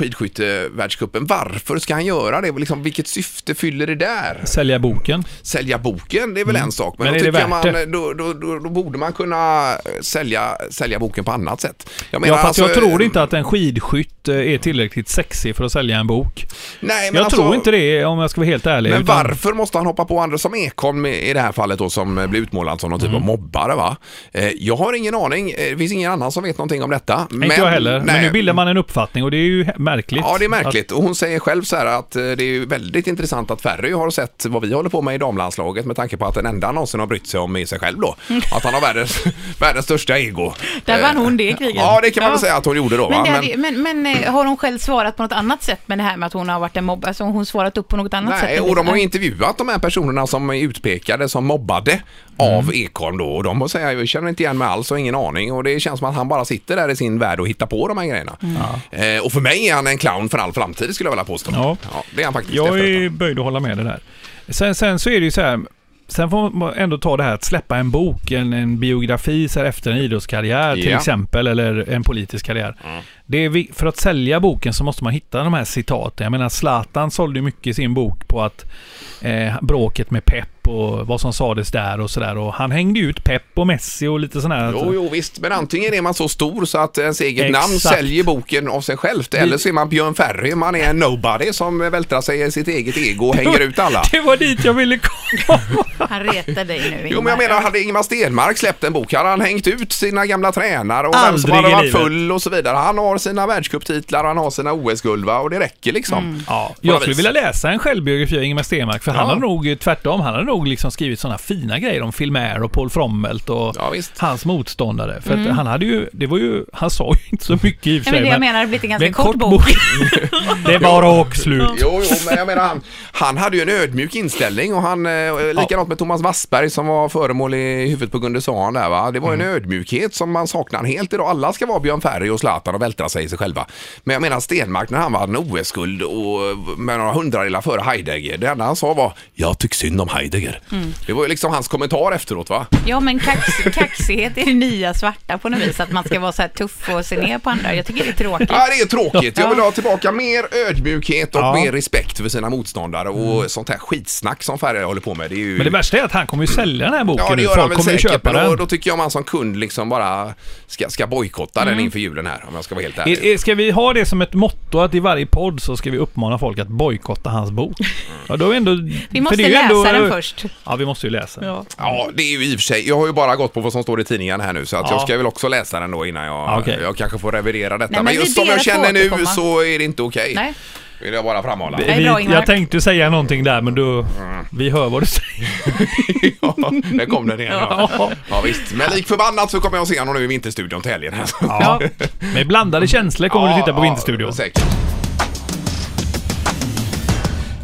B: skidskyttevärldscupen. Varför ska han göra det? Liksom, vilket syfte fyller det där?
E: Sälja boken.
B: Sälja boken, det är väl en sak. Men,
E: Mm. Men
B: då,
E: är det
B: tycker man,
E: värt det?
B: Då, då, då, då borde man kunna sälja, sälja boken på annat sätt. Jag
E: Ja, fast jag
B: alltså,
E: tror inte att en skidskytt eh, är tillräckligt sexig för att sälja en bok.
B: Nej, men
E: jag
B: alltså,
E: tror inte det om jag ska vara helt ärlig.
B: Men
E: utan-
B: varför måste han hoppa på andra som Ekholm i i det här fallet då som eh, blir utmålad som någon typ
E: Mm.
B: av mobbare va? Eh, jag har ingen aning, Eh, det finns ingen annan som vet någonting om detta.
E: Nej, inte jag heller. Men nu bildar man en uppfattning och det är ju he- märkligt.
B: Ja, det är märkligt. Och hon säger själv så här att eh, det är ju väldigt intressant att Ferry har sett vad vi håller på med i damlandslaget med tanke på att den enda han någonsin har brytt sig om är sig själv då.
E: Mm.
B: Att han har världens, världens största ego.
A: Där vann
B: Eh,
A: hon det kriget.
B: Ja, det kan man väl säga att hon gjorde då.
A: Men,
B: va?
A: det hade, men, men eh, har hon själv svarat på något annat sätt med det här med att hon har varit en mobbare? Alltså hon svarat upp på något annat sätt?
B: Nej,
A: än
B: och de har ju
A: lyssnaren?
B: intervjuat de här personerna som är utpekade som mobbade av Ekholm då och de säger jag känner inte igen mig alls och har ingen aning och det känns som att han bara sitter där i sin värld och hittar på de här grejerna. Eh, och för mig är han en clown för all framtid skulle jag vilja påstå.
E: Ja.
B: det är han faktiskt.
E: Jag
B: efter detta.
E: är böjd att hålla med det där. Sen, sen så är det ju så här. Sen får man ändå ta det här att släppa en bok, en, en biografi så här efter en idrottskarriär till
B: Ja.
E: exempel, eller en politisk karriär. Det är, vi- för att sälja boken så måste man hitta de här citaten. Jag menar Zlatan sålde ju mycket i sin bok på att eh, bråket med Pep och vad som sades där och sådär. Och han hängde ut Pep och Messi och lite sådana här...
B: Jo, jo, visst. Men antingen är man så stor så att ens eget
E: Exakt.
B: namn säljer boken av sig självt. Eller så är man Björn Ferry. Man är en nobody som vältrar sig i sitt eget ego och hänger ut alla.
E: Det var dit jag ville komma.
A: Han retar dig
B: Jo,
A: nu
B: men jag
A: Ingmar.
B: menar, hade Ingemar Stenmark släppt en bok hade han hängt ut sina gamla tränare och vem som
E: Aldrig
B: hade
E: i
B: varit
E: livet.
B: full och så vidare. Han har sina världscuptitlar, han har sina OS-guld va? och det räcker liksom.
E: Mm. Ja,
B: något
E: jag skulle
B: vis.
E: vilja läsa en självbiografi av Ingemar Stenmark, för han har nog tvärtom, han har nog liksom skrivit sådana fina grejer om Filmer och Paul Frommelt och
B: Ja, visst.
E: hans motståndare. För att han hade ju, det var ju, han sa ju inte så mycket i och för
A: Nej,
E: sig.
A: Mm. men det jag menar, det har blivit en
E: det är
A: ganska
E: en
A: kort, bok.
E: det var rakt slut.
B: Jo, jo, men jag menar han, han hade ju en ödmjuk inställning och han, eh, likadant med Thomas Wassberg som var föremål i huvudet på Gunde Svan där va. Det var en ödmjukhet som man saknar helt idag. Alla ska vara Björn Ferry och Zlatan och vältra sig i sig själva. Men jag menar Stenmark när han vann OS-guld och eh, med några hundradelar före Heidegger. Det enda han sa var “Jag tycker synd om Heidegger”. Det var ju liksom hans kommentar efteråt va.
A: Ja, men kax, kaxighet är det nya svarta på något vis. Att man ska vara så här tuff och se ner på andra. Jag tycker det är tråkigt.
B: Ja, det är tråkigt. Jag vill ha tillbaka mer ödmjukhet och
E: Ja.
B: mer respekt för sina motståndare och sånt här skitsnack som Ferry håller på med. Det är ju...
E: Men det värsta är att han kommer ju sälja den här boken
B: Ja, det
E: nu.
B: gör han
E: Folk
B: väl
E: kommer ju
B: säkert.
E: köpa
B: Men då,
E: den.
B: då tycker jag man som kund liksom bara ska, ska bojkotta den inför julen här, om jag ska vara helt ärlig.
E: Mm. Är- är- Ska vi ha det som ett motto att i varje podd så ska vi uppmana folk att bojkotta hans bok? Ja, då är ändå,
A: Vi måste
E: för det är ju
A: läsa
E: ändå-
A: den först.
E: Ja, vi måste ju läsa den.
B: Ja, det är ju i och för sig. Jag har ju bara gått på vad som står i tidningen här nu, så att
E: Ja.
B: jag ska väl också läsa den då innan jag...
E: Ja, okej.
B: Jag kanske får revidera detta.
A: Nej, men
B: men,
A: vi
B: just som
A: ber
B: jag
A: att få
B: känner nu
A: återkomma.
B: så är det inte okej.
A: Nej.
B: Vill jag bara framhålla.
A: Nej,
E: Vi,
A: bra, Ingmar.
E: jag tänkte säga någonting där men du, vi hör vad du säger.
B: ja, där kom den igen. Ja. ja, visst. Men lik förbannat så kommer jag se honom nu i Vinterstudion till helgen.
E: Ja. Med blandade känslor kommer du titta på Vinterstudion.
B: säkert.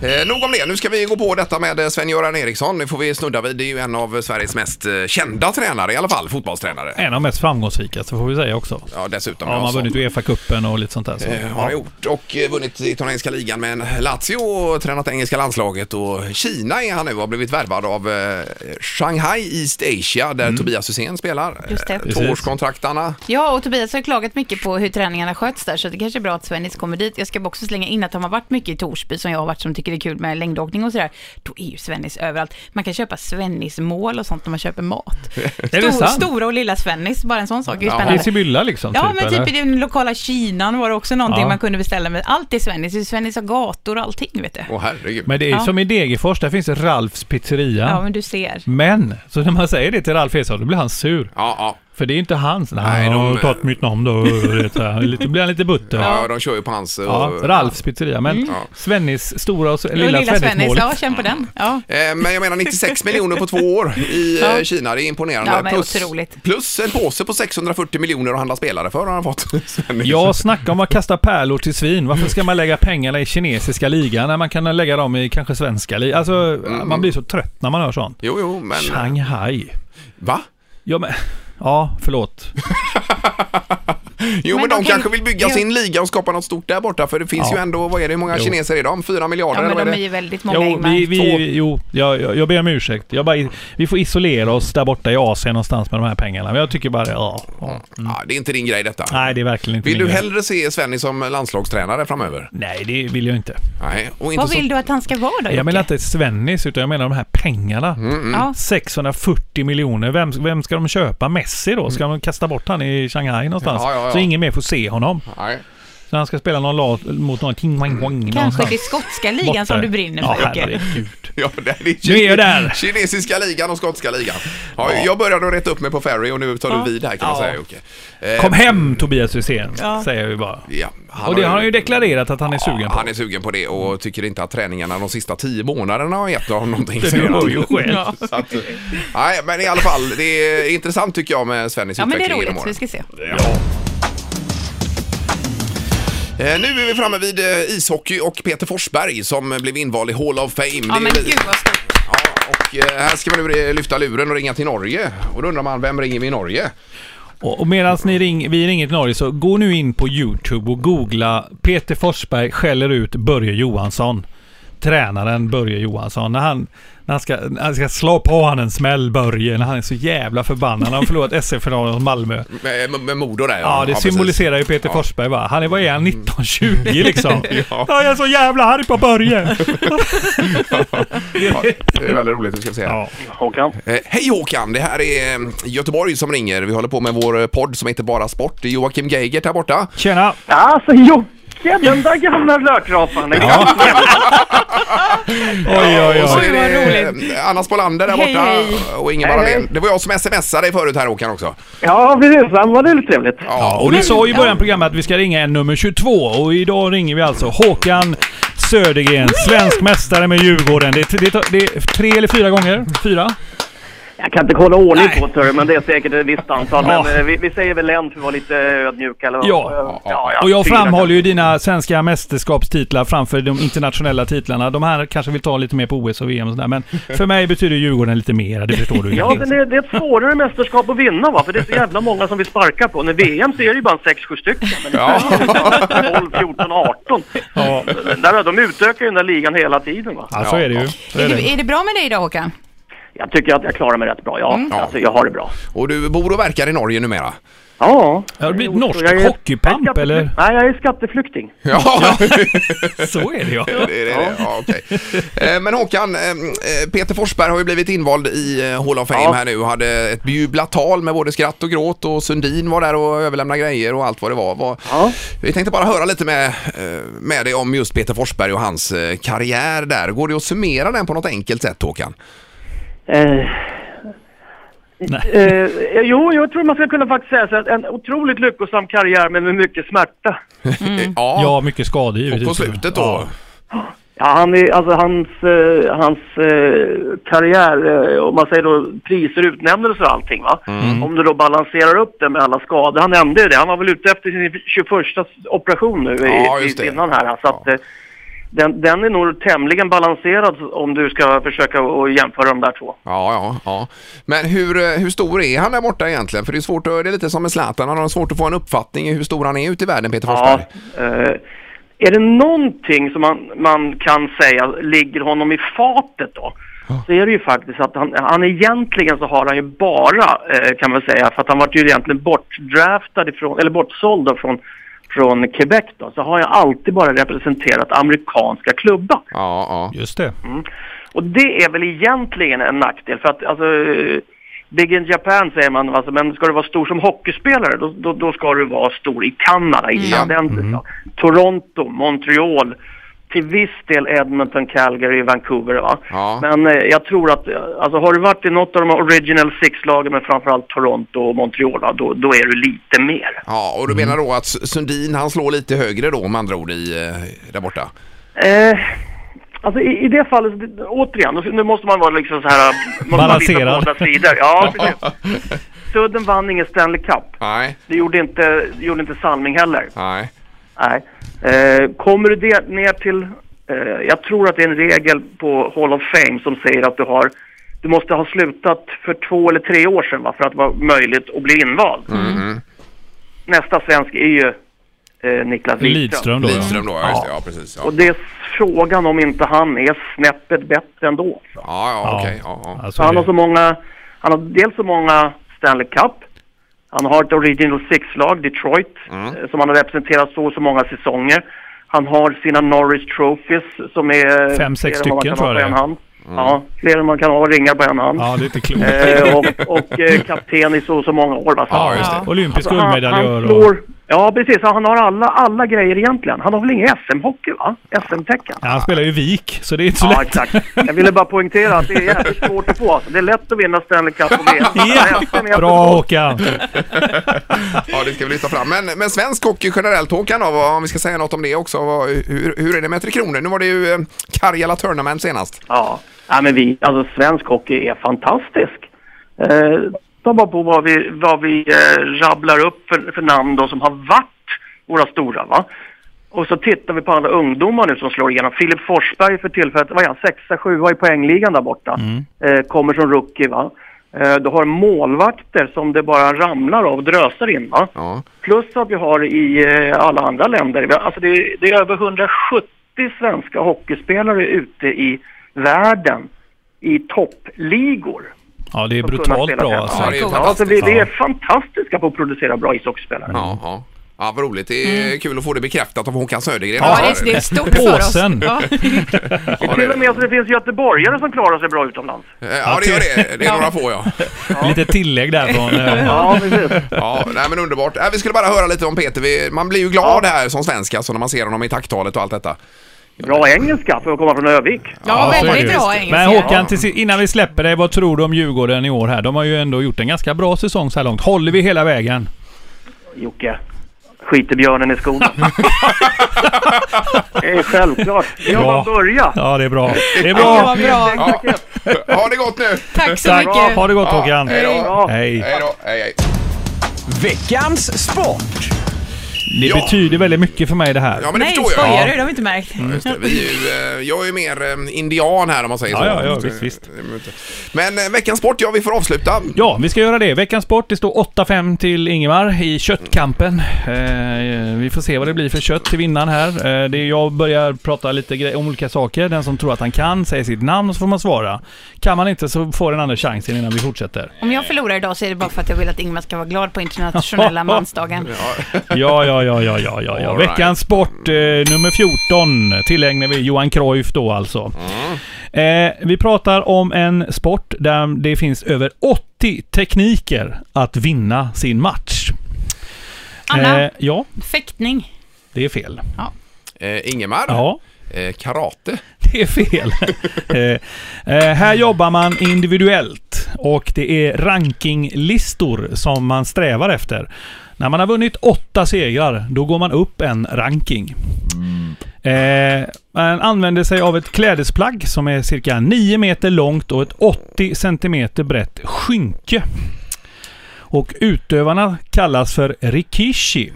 B: Eh, nog om det. Nu ska vi gå på detta med eh, Sven-Göran Eriksson. Det får vi snudda vid. Det är ju en av Sveriges mest eh, kända tränare i alla fall, fotbollstränare.
E: En av de mest framgångsrika, så får vi säga också.
B: Ja, dessutom.
E: Ja, man har
B: så.
E: vunnit Uefa-cupen och lite sånt där. Så.
B: Eh, har han gjort och eh, vunnit italienska ligan med en Lazio och tränat engelska landslaget och Kina är han nu och har blivit värvad av eh, Shanghai East Asia där
E: Mm.
B: Tobias Hysén spelar.
A: Just det.
B: Eh,
A: Precis.
B: Tvåårskontraktarna.
A: Ja, och Tobias har klagat mycket på hur träningarna sköts där, så det kanske är bra att Svennis kommer dit. Jag ska bara också slänga in att de har varit mycket i Torsby, som jag har varit, som tycker det är kul med längdåkning och sådär. Då är ju Svennis överallt. Man kan köpa Svennis-mål och sånt när man köper mat.
E: Är det sant?
A: stora och lilla Svennis, bara en sån sak är ju
B: Jaha.
E: I
A: spännande.
E: Sibylla liksom?
A: Ja, men
E: eller?
A: typ i den lokala Kinan var det också någonting
E: Ja.
A: man kunde beställa. Men allt är Svennis. Svennis har gator och allting, vet du.
B: Åh herregud.
E: Men det är
A: Ja.
E: som i Degerfors, där finns Ralfs pizzeria.
A: Ja, men du ser.
E: Men, så när man säger det till Ralf Eriksson, då blir han sur.
B: Ja, ja.
E: För det är inte hans. Nej,
B: Nej,
E: han har
B: de-
E: tagit mitt namn då. vet du. Han är lite- Då blir han lite butter. Ja.
B: Ja, de kör ju på hans... eh,
E: Ralfs pizzeria. Men
B: Ja.
E: Svennis stora och s-
A: Och
E: lilla, Svennis-målet.
A: ja, känn på den. Ja.
B: Eh, Men jag menar 96 miljoner på två år i eh, Kina, det är imponerande.
A: Ja, men
B: plus,
A: otroligt.
B: plus en påse på 640 miljoner att handla spelare för har han fått. Svennis.
E: Ja, snacka om att kasta pärlor till svin. Varför ska man lägga pengarna i kinesiska ligan när man kan lägga dem i kanske svenska ligan? Alltså, man blir så trött när man hör sånt.
B: Jo, jo, men...
E: Shanghai.
B: Va?
E: Ja, men... Ja, förlåt.
B: Jo, men, de,
A: Men de kan ju-
B: kanske vill bygga
A: det-
B: sin liga och skapa något stort där borta. För det finns
E: Ja.
B: ju ändå, vad är det, hur många
E: Jo.
B: kineser är de? Fyra miljarder?
A: Ja, men
B: eller
A: de
B: vad
A: är
B: är det?
A: ju väldigt många
E: Jo,
A: Ingmar.
E: vi,
B: Två.
E: vi, jo jag, jag, jag ber om ursäkt. Jag bara, vi får isolera oss där borta i Asien någonstans med de här pengarna. Men jag tycker bara, ja. ja.
B: Ja, det är inte din grej detta.
E: Mm. Nej, det är verkligen inte
B: Vill
E: min
B: du
E: grej.
B: hellre se Svenny som landslagstränare framöver?
E: Nej, det vill jag inte.
B: Nej, och inte
A: Vad
B: så...
A: vill du att han ska vara då, Jocke?
E: Jag menar inte Svennis, utan jag menar de här pengarna.
B: Mm.
A: Ja.
E: 640 miljoner. Vem, vem ska de köpa? Messi då? Ska de kasta bort han i Shanghai någonstans?
B: Mm. Ja, ja, ja.
E: Så ingen mer får se honom.
B: Nej.
E: Så han ska spela någon lag mot någon King Wang Wang
A: Kanske
E: någonstans.
A: det är skotska ligan
E: Borta.
A: som du brinner för,
E: Ja,
A: Jocke.
E: herregud.
B: Ja, det är
E: Nu är jag där.
B: Kinesiska ligan och skotska ligan. Ja, Jag började att reta upp mig på Ferry och nu tar du vid här kan man
E: Ja.
B: säga Jocke. Eh,
E: Kom hem Tobias Hysén,
A: Ja.
E: säger vi bara.
B: Ja,
E: Och det har han ju deklarerat att han är sugen på.
B: Han är sugen på det och tycker inte att träningarna de sista tio månaderna har gett honom någonting.
E: Det
B: säger han.
E: beror ju själv.
A: Ja.
B: Så att, eh, nej, men i alla fall, det är intressant tycker jag med Svennis
A: ja, men det är
B: utveckling
A: roligt.
B: genom
A: Vi
B: åren.
A: ska se.
B: Eh, Nu är vi framme vid eh, ishockey och Peter Forsberg som eh, blev invald i Hall of Fame. Det
A: Ja,
B: är
A: men
B: vi-
A: gud vad stort.
B: Ja, och eh, här ska man nu eh, lyfta luren och ringa till Norge. Och då undrar man, vem ringer vi i Norge?
E: Och, och medan ni ring, vi ringer till Norge så gå nu in på YouTube och googla Peter Forsberg skäller ut Börje Johansson. Tränaren Börje Johansson. När han, när han, ska, när han ska slå på han en smäll Börje, när han är så jävla förbannad. Han har förlorat SM-finalen mot Malmö.
B: Med, med- med Modo där
E: Ja, det
B: precis.
E: symboliserar ju Peter
B: Ja. Mm.
E: Forsberg va? Han är, vad är han, 1920 liksom?
B: Ja.
E: ja. Jag är så jävla arg på Börje!
B: Ja, det är väldigt roligt, vi ska se. här.
E: Ja.
F: Håkan?
B: Eh, Hej Håkan, det här är eh, Göteborg som ringer. Vi håller på med vår eh, podd som heter Bara Sport. Det är Joakim Geigert här borta.
E: Tjena!
F: Alltså Jocke, den där gamla lökrapan! Ja.
E: Oj, oj,
B: Och så
E: oj.
B: är
A: vad
B: det eh, Anna Spolander där
A: Hej,
B: borta
A: hej.
B: och Ingemar
F: Hej,
B: Ahlén.
F: hej.
B: Det var jag som smsade dig förut här Håkan också.
F: ja, precis. Han var lite trevligt.
E: Ja, och du sa ju i början av programmet att vi ska ringa en nummer 22 och idag ringer vi alltså Håkan Södergren, svensk mästare med Djurgården. Det är, det, är, det är tre eller fyra gånger? Fyra?
F: Jag kan inte kolla ordning
E: Nej.
F: på det, men det är säkert ett visst antal.
E: Ja.
F: Men eh, vi, vi säger väl en för att vara lite ödmjuka. Eller,
E: Ja. Och jag framhåller ju dina svenska mästerskapstitlar framför de internationella titlarna. De här kanske vill ta lite mer på OS och VM och sådär, men för mig betyder Djurgården lite mer, det förstår du
F: Ja, men
E: kanske.
F: det, det är ett svårare mästerskap att vinna va, för det är så jävla många som vi sparkar på. När VM så är det ju bara 6-7 stycken, men
B: Ja.
F: 12, 14, 18.
E: Ja,
F: Där, de utökar ju den där ligan hela tiden va.
E: ja, så är det ju. Så
A: Är
E: är
A: det,
E: det.
A: är det bra med dig idag, Håkan?
F: Jag tycker att jag klarar mig rätt bra, ja.
E: Mm.
F: Alltså, jag har det bra.
B: Och du bor och verkar i Norge numera.
F: Ja.
E: Har du blivit norsk
F: Jag är-
E: hockeypamp
F: jag är skattefly-
E: eller?
F: Nej, jag är skatteflykting.
B: Ja,
E: Så är det ja.
B: det är det. Ja, okej. Eh, Men Håkan, eh, eh, Peter Forsberg har ju blivit invald i eh, Hall of Fame
F: Ja.
B: här nu och hade ett bejublat tal med både skratt och gråt och Sundin var där och överlämnade grejer och allt vad det var. Vad-
F: Ja.
B: Vi tänkte bara höra lite med, eh, med dig om just Peter Forsberg och hans eh, karriär där. Går det att summera den på något enkelt sätt Håkan?
F: Eh,
E: Nej.
F: eh, jo, jag tror man ska kunna faktiskt säga så att en otroligt lyckosam karriär men med mycket smärta.
B: Eh, Ja,
E: Ja, mycket skador
B: och
E: givetvis.
B: på slutet då.
E: Ja.
F: Ja, han är, alltså hans, eh, hans eh, karriär, eh, om man säger då priser, utnämnelser och allting va. Om du då balanserar upp det med alla skador. Han nämnde ju det, han var väl ute efter sin 21 operation nu i,
B: Ja, just
F: i-
B: det.
F: innan här. Så att,
B: Ja.
F: eh, den, den är nog tämligen balanserad om du ska försöka att jämföra de där två.
B: Ja, ja, ja. Men hur, eh, hur stor är han där borta egentligen? För det är svårt att, det är lite som med Zlatan, han har svårt att få en uppfattning i hur stor han är ute i världen, Peter
F: Ja,
B: Forsberg.
F: eh, är det någonting som man, man kan säga ligger honom i fatet då? Så är det ju faktiskt att han, han egentligen så har han ju bara, eh, kan man säga, för att han var ju egentligen bortdraftad ifrån, eller bortsåld då från, från Quebec då, så har jag alltid bara representerat amerikanska klubbar.
B: Ja, ja.
E: Just det.
F: Och det är väl egentligen en nackdel för att alltså, eh, Big in Japan säger man, alltså, men ska du vara stor som hockeyspelare då, då, då ska du vara stor i Kanada, i
B: Ja.
F: Kanadensis, ja. Toronto, Montreal, till viss del Edmonton, Calgary, Vancouver va.
B: Ja.
F: Men eh, jag tror att, eh, alltså har du varit i något av de här original six-lagen men framförallt Toronto och Montreal va, då, då är du lite mer.
B: ja och du menar då att S- Sundin, han slår lite högre då med andra ord i, eh, där borta?
F: Eh, Alltså i, i det fallet, återigen, då- nu måste man vara liksom så här... måste man
E: Balanserad.
F: visa båda sidor. Ja, precis. Sudden vann ingen Stanley Cup.
B: Nej,
F: Det gjorde inte, gjorde inte Salming heller.
B: nej.
F: Nej. Eh, kommer du det ner till... Eh, jag tror att det är en regel på Hall of Fame som säger att du har... Du måste ha slutat för två eller tre år sedan va, för att vara möjligt att bli invald. nästa svensk är ju eh, Niklas
E: Lidström
F: Lidström.
E: då. Ja.
B: Lidström då, ja, just det. Ja, precis. Ja,
F: Och det är frågan om inte han är snäppet bättre ändå.
B: ja, ja okej. Ja, ja.
E: Alltså,
F: Så han har så
E: det,
F: många, han har dels så många Stanley Cup, han har ett Original Six-lag, Detroit, eh, som han har representerat så och så många säsonger. Han har sina Norris Trophies som är...
E: Fem, sex
F: fler än vad man
E: stycken
F: kan ha
E: tror jag
F: på
E: det
F: en
E: är.
F: hand. Ja, fler än man kan ha ringar på en hand.
E: ja, det är inte klokt.
F: Eh, och och eh, kapten i så och så många år. va? Så
B: Ja, just det.
E: Olympisk
F: Alltså, han-
E: guldmedaljör
F: han
E: och...
F: slår- Ja, precis. Han har alla, alla grejer egentligen. Han har väl ingen SM-hockey, va? SM-tecken.
E: Ja, han spelar ju vik, så det är inte så
F: Ja,
E: lätt.
F: exakt. Jag ville bara poängtera att det är jävligt svårt att få. Alltså, det är lätt att vinna Stanley Cup och VM.
E: Ja,
F: Men SM är
E: bra
F: jättebra.
E: Håkan!
B: ja, det ska vi lyfta fram. Men, men svensk hockey generellt, Håkan, då, vad- om vi ska säga något om det också. vad- Hur, hur är det med Tre Kronor? Nu var det ju eh, Karjala Tournament senast.
F: Ja. ja, men vi, alltså svensk hockey är fantastisk. Eh, ta bara på vad vi, vad vi eh, rabblar upp för, för namn då som har varit våra stora, va? Och så tittar vi på alla ungdomar nu som slår igenom. Filip Forsberg för tillfället, vad är han, sexa, sjua i poängligan där borta.
E: Mm.
F: Eh, kommer som rookie, va? Eh, du har målvakter som det bara ramlar av och drösar in, va?
B: Ja.
F: Plus att vi har i eh, alla andra länder. Vi har- Alltså det, är- det är över 170 svenska hockeyspelare ute i världen i toppligor.
E: Ja, det är
F: Som kunnat
E: brutalt
F: spela
E: bra
F: fem.
E: alltså.
B: Ja, det är
F: Ja, alltså
B: fantastiskt.
F: vi, vi är fantastiska på att producera bra ishockeyspelare.
B: Ja, ja. Mm. ja vad roligt. Det är kul att få det bekräftat av Håkan Södergren.
A: Ja, det, är, det är stort för oss.
E: Påsen.
A: Ja.
B: Ja,
F: Till
B: det-
F: och med att det finns göteborgare som klarar sig bra utomlands.
B: Ja, det gör det. Det är några få, ja.
E: Lite tillägg där från... eh,
F: Ja, precis.
B: Ja, nej, men underbart. Äh, vi skulle bara höra lite om Peter. Vi, man blir ju glad här som svensk alltså, när man ser honom i tacktalet och allt detta.
F: Bra engelska för att komma från Övik.
A: Ja,
E: så är
A: väldigt
E: det ju.
A: bra engelska.
E: Men Håkan, till si- innan vi släpper dig, vad tror du om Djurgården i år här? De har ju ändå gjort en ganska bra säsong så här långt. Håller vi hela vägen?
F: Jocke, skiter björnen i skogen. det är självklart. Det är bara
E: Ja.
F: att börja.
E: Ja, det är bra. Det är
A: Ja,
E: bra!
A: vad bra.
B: Ja. Ha det gott nu!
A: Tack så
E: Tack!
A: mycket.
E: Ha det gott
B: Ja,
E: Håkan!
B: hej då.
F: Ja.
E: Hej!
B: Hej då! Hej, hej.
D: Veckans sport.
E: Det
B: Ja.
E: betyder väldigt mycket för mig det här.
B: Ja, men det
A: Nej,
B: förstår jag.
A: skojar du?
B: Ja.
A: Det har vi inte märkt.
E: Mm.
B: Just det. Vi är ju, eh, jag är ju mer eh, indian här om man säger
E: Ja,
B: så. Eh,
E: ja, ja, visst, visst.
B: Men eh, veckans sport, ja vi får avsluta.
E: Ja, vi ska göra det. Veckans sport. Det står 8-5 till Ingemar i köttkampen. Eh, vi får se vad det blir för kött till vinnaren här. Eh, det är jag börjar prata lite gre- om olika saker. Den som tror att han kan säger sitt namn och så får man svara. Kan man inte så får den andra chansen innan vi fortsätter.
A: Om jag förlorar idag så är det bara för att jag vill att Ingmar ska vara glad på internationella mansdagen.
E: Ja, ja, ja, ja, ja, ja. ja.
B: All right.
E: Veckans sport eh, nummer 14 tillägnar vi Johan Cruyff då alltså.
B: Mm.
E: Eh, vi pratar om en sport där det finns över 80 tekniker att vinna sin match.
A: Anna,
E: Eh, ja,
A: fäktning.
E: det är fel.
B: Eh, Ingemar,
E: Ja,
B: eh, karate.
E: det är fel. eh, eh, här jobbar man individuellt och det är rankinglistor som man strävar efter. När man har vunnit åtta segrar, då går man upp en ranking. Eh, man använder sig av ett klädesplagg som är cirka 9 meter långt och ett 80 centimeter brett skynke. Och utövarna kallas för rikishi.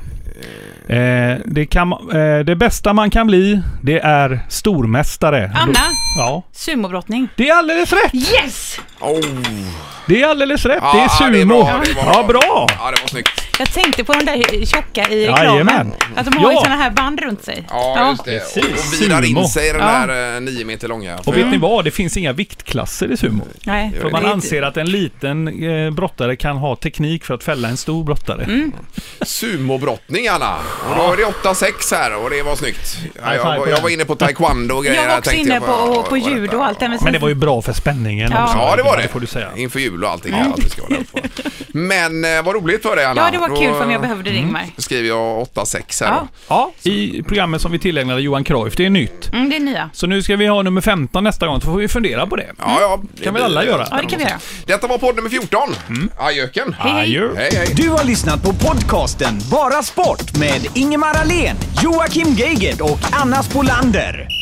E: Eh, det, kan, ma- eh, det bästa man kan bli, det är stormästare.
A: Anna,
E: Ja.
A: sumobrottning.
E: Det är alldeles rätt!
A: Yes!
B: Oh.
E: Det är alldeles rätt! det är
B: Ja,
E: sumo!
B: bra, det var
E: ja, bra!
B: Ja, det var snyggt.
A: Jag tänkte på de där tjocka i reklamen.
E: Jajamän.
A: Att de har
E: Ja.
A: ju såna här band runt sig.
B: Ja, just det.
E: Precis,
B: Och, och virar in
E: sumo.
B: sig i den
A: Ja.
B: där eh, nio meter långa.
E: Och vet ni vad? Det finns inga viktklasser i sumo.
A: Nej,
E: För man
A: det är-
E: anser att en liten eh, brottare kan ha teknik för att fälla en stor brottare.
B: Sumobrottning Anna! Och då är det 8-6 här och det var snyggt. Ja,
E: five
B: jag,
E: på
B: jag
E: den.
B: var inne på taekwondo och grejer.
A: Jag var
B: här,
A: också
B: tänkte
A: inne
B: jag
A: på, och på
B: vad är
A: judo
B: detta?
A: och allt det här.
E: Men det var ju bra för spänningen
A: Ja.
E: också.
B: Ja, det var det.
E: Det får du säga.
B: Inför jul och allting. Ja. Allt vi ska hålla på. Men eh, vad roligt för dig Anna.
A: Ja, det var
B: Då,
A: kul för mig. Jag
B: eh,
A: behövde
E: Mm.
A: det, Ingmar.
B: skriver jag 8-6 här.
A: Ja.
E: Ja, i programmet som vi tillägnade Johan Cruyff. Det är nytt.
A: Mm, det är nya.
E: Så nu ska vi ha nummer 15 nästa gång, så får vi fundera på det.
B: Ja, ja. Det
E: Kan väl
B: blir-
E: alla göra? Mm.
A: Ja, det kan vi göra.
B: Detta var podd nummer 14. Ajöken.
E: Adjö.
B: Hej, hej.
D: Du har lyssnat på podcasten Bara sport med Ingemar Ahlén, Joakim Geigert och Anna Spolander.